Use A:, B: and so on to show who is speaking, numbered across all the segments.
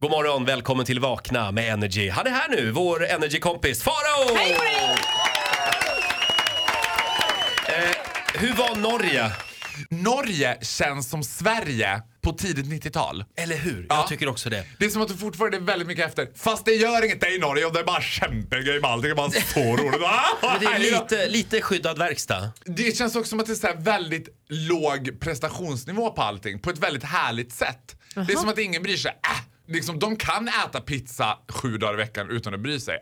A: God morgon, välkommen till Vakna med Energy. Han är här nu, vår Energy-kompis Farao! Hej på dig! Eh, hur var Norge?
B: Norge känns som Sverige på tidigt 90-tal.
A: Eller hur?
B: Ja.
A: Jag tycker också det.
B: Det är som att du fortfarande är väldigt mycket efter. Fast det gör inget, det är i Norge och det är bara kämpegrej med allting. Det är bara så roligt. Ah,
A: Men det är
B: härligt.
A: lite, lite skyddad verkstad.
B: det känns också som att det är så här väldigt låg prestationsnivå på allting. På ett väldigt härligt sätt. Det är som att ingen bryr sig. Äh, liksom, de kan äta pizza sju dagar i veckan utan att bry sig. Äh.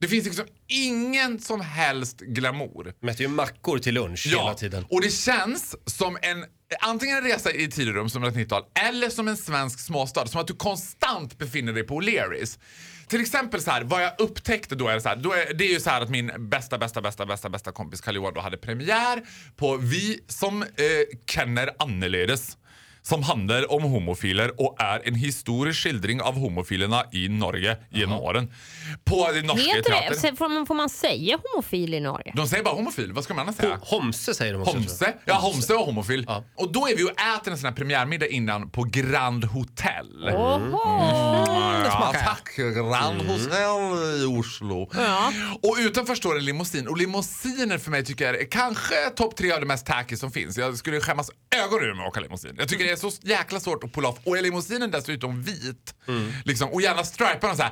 B: Det finns liksom ingen som helst glamour.
A: De äter ju mackor till lunch hela tiden.
B: Och det känns som en antingen en resa i tid och rum som 90-tal eller som en svensk småstad. Som att du konstant befinner dig på O'Learys. Till exempel så här, vad jag upptäckte då är det så här, då är, det är ju så här att min bästa, bästa, bästa, bästa, bästa kompis karl Johan då hade premiär på Vi som eh, känner annerledes. Som handlar om homofiler och är en historisk skildring av homofilerna i Norge genom åren. På den norska
C: Heter det?
B: teatern.
C: Sen Får man, får man säga homofil i Norge?
B: De säger bara homofil, vad ska man annars säga?
A: Homse säger de också. tror jag.
B: Homse? Ja, Homse och homofil.
A: Ja.
B: Och då är vi och äter en sån här premiärmiddag innan på Grand Hotel. Mm.
C: Oho!
B: Ja, tack. Grand
A: Mm.
B: Hotel i Oslo. Och utanför står en limousin. Och limousiner för mig tycker jag är kanske topp tre av det mest tacky som finns. Jag skulle skämmas ögonen ur mig att åka limousin. Jag tycker det är så jäkla svårt att pulla off. Och är limousinen dessutom vit,
A: Mm.
B: liksom, och gärna striparna så här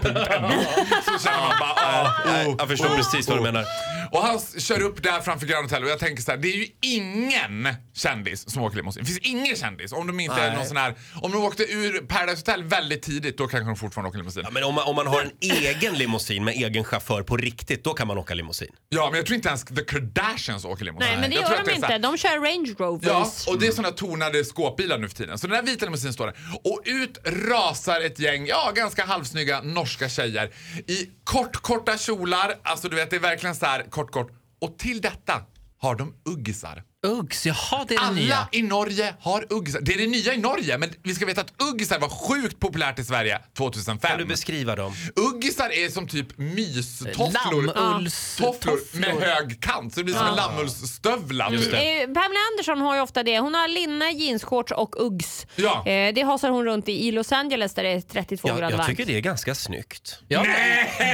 B: så känner man bara ah,
A: Nej,
B: oh,
A: jag förstår
B: oh,
A: precis vad du
B: oh.
A: menar.
B: Och han s- kör upp där framför Grand Hotel och jag tänker så här, det är ju ingen kändis som åker limousin. Det finns ingen kändis. Om de inte är
A: Nej.
B: någon sån här, om de åkte ur Paradise Hotel väldigt tidigt, då kanske de fortfarande åker limousin.
A: Ja, men om man, om man har en egen limousin med egen chaufför på riktigt, då kan man åka limousin.
B: Ja, men jag tror inte ens The Kardashians åker limousin.
C: Nej men det
B: jag tror
C: gör
B: att
C: de
B: är så här-
C: inte. Mm. De kör Range
B: Ja,
C: Rovers.
B: och det är såna tonade skåpbilar nu för tiden. Så den där vita limousinen står där. Och ut rasar ett gäng, ja, ganska halvsnygga norska tjejer i kortkorta kjolar. Alltså du vet, det är verkligen så här kort, kort. Och till detta har de uggisar.
A: Uggs, jaha det är
B: Alla i Norge har uggisar. Det är det nya i Norge, men vi ska veta att uggisar var sjukt populärt i Sverige 2005.
A: Kan du beskriva dem?
B: Uggisar är som typ mystofflor. Tofflor
D: Lammullstofflor.
B: med hög kant, så det blir som en lammullsstövla. typ.
C: Eh, Pamela Anderson har ju ofta det. Hon har linne, jeansshorts och Uggs.
B: Ja.
C: Eh, det hasar hon runt i, i Los Angeles där det är 32
A: Jag,
C: grader
A: jag
C: varmt.
A: tycker eh, det är ganska snyggt.
D: Ja.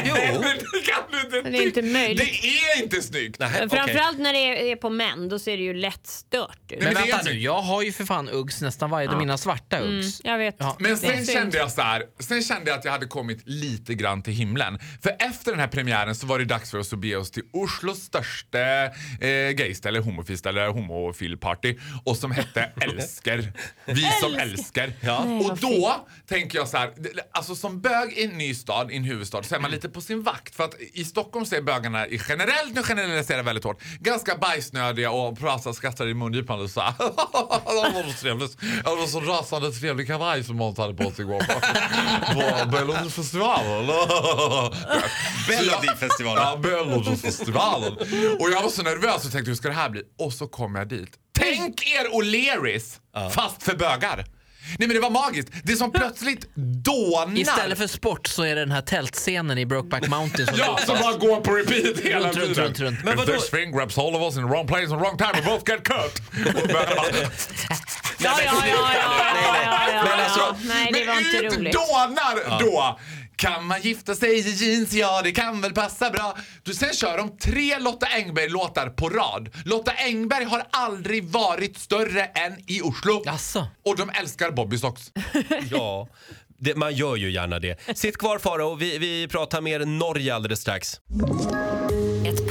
A: Jo.
B: Men det kan du inte
C: Det är inte
B: tycka.
C: möjligt.
B: Det är inte snyggt!
A: Nej,
C: Men
A: okej.
C: Framförallt när det är, är på män, då ser det ju lätt stört ut.
B: Men
D: Men
B: det är
D: vänta
B: inte-
D: nu, jag har ju för fan Uggs nästan varje dag. Mina svarta Uggs.
C: Jag vet.
D: Ja.
B: Men
C: Det är
B: sen
C: synd.
B: kände, jag så här, sen kände jag att jag hade kommit lite grann till himlen. För efter den här premiären så var det dags för oss att bege oss till Oslos största eh, gayställe, homofist eller homofilparty. Och som hette Älsker. Vi som älskar.
C: Nej,
B: och
C: vad
B: då tänker jag så här, det- alltså som bög i en ny stad, i en huvudstad, så är man lite på sin vakt. För att i Stockholm så är bögarna i generellt, nu generaliserar jag väldigt hårt, ganska bajsnödiga och pratar, skrattar i mungipan och så här. Det var så trevligt. Ja, Det var så rasande trevlig kavaj som Måns hade på sig igår på, på Bellonfestivalen.
A: Melodifestivalen.
B: Ja, Bellonfestivalen. Och jag var så nervös och tänkte hur ska det här bli? Och så kom jag dit. Tänk er O'Learys fast för bögar. Nej men det var magiskt. Det är som plötsligt dånar.
D: Istället för sport så är det den här tältscenen i Brokeback Mountain som
B: Ja, som bara går på repeat hela
D: Runt, runt,
B: tiden.
D: runt, runt.
A: Men
B: If
A: vadå?
B: this thing grabs hold of us in the wrong place and wrong time we both get cut. Och bögarna bara-
C: Ja, ja, ja, ja, ja, ja, ja,
A: Men
C: ja.
A: alltså-
C: Nej, det var inte
B: ut
C: roligt.
B: dånar då! Kan man gifta sig i jeans? Ja, det kan väl passa bra. Du, sen kör de tre Lotta Engberg-låtar på rad. Lotta Engberg har aldrig varit större än i Oslo.
D: Jaså?
B: Och de älskar Bobby Socks.
A: Ja, det, man gör ju gärna det. Sitt kvar Faro, vi, vi pratar mer Norge alldeles strax.
E: Ett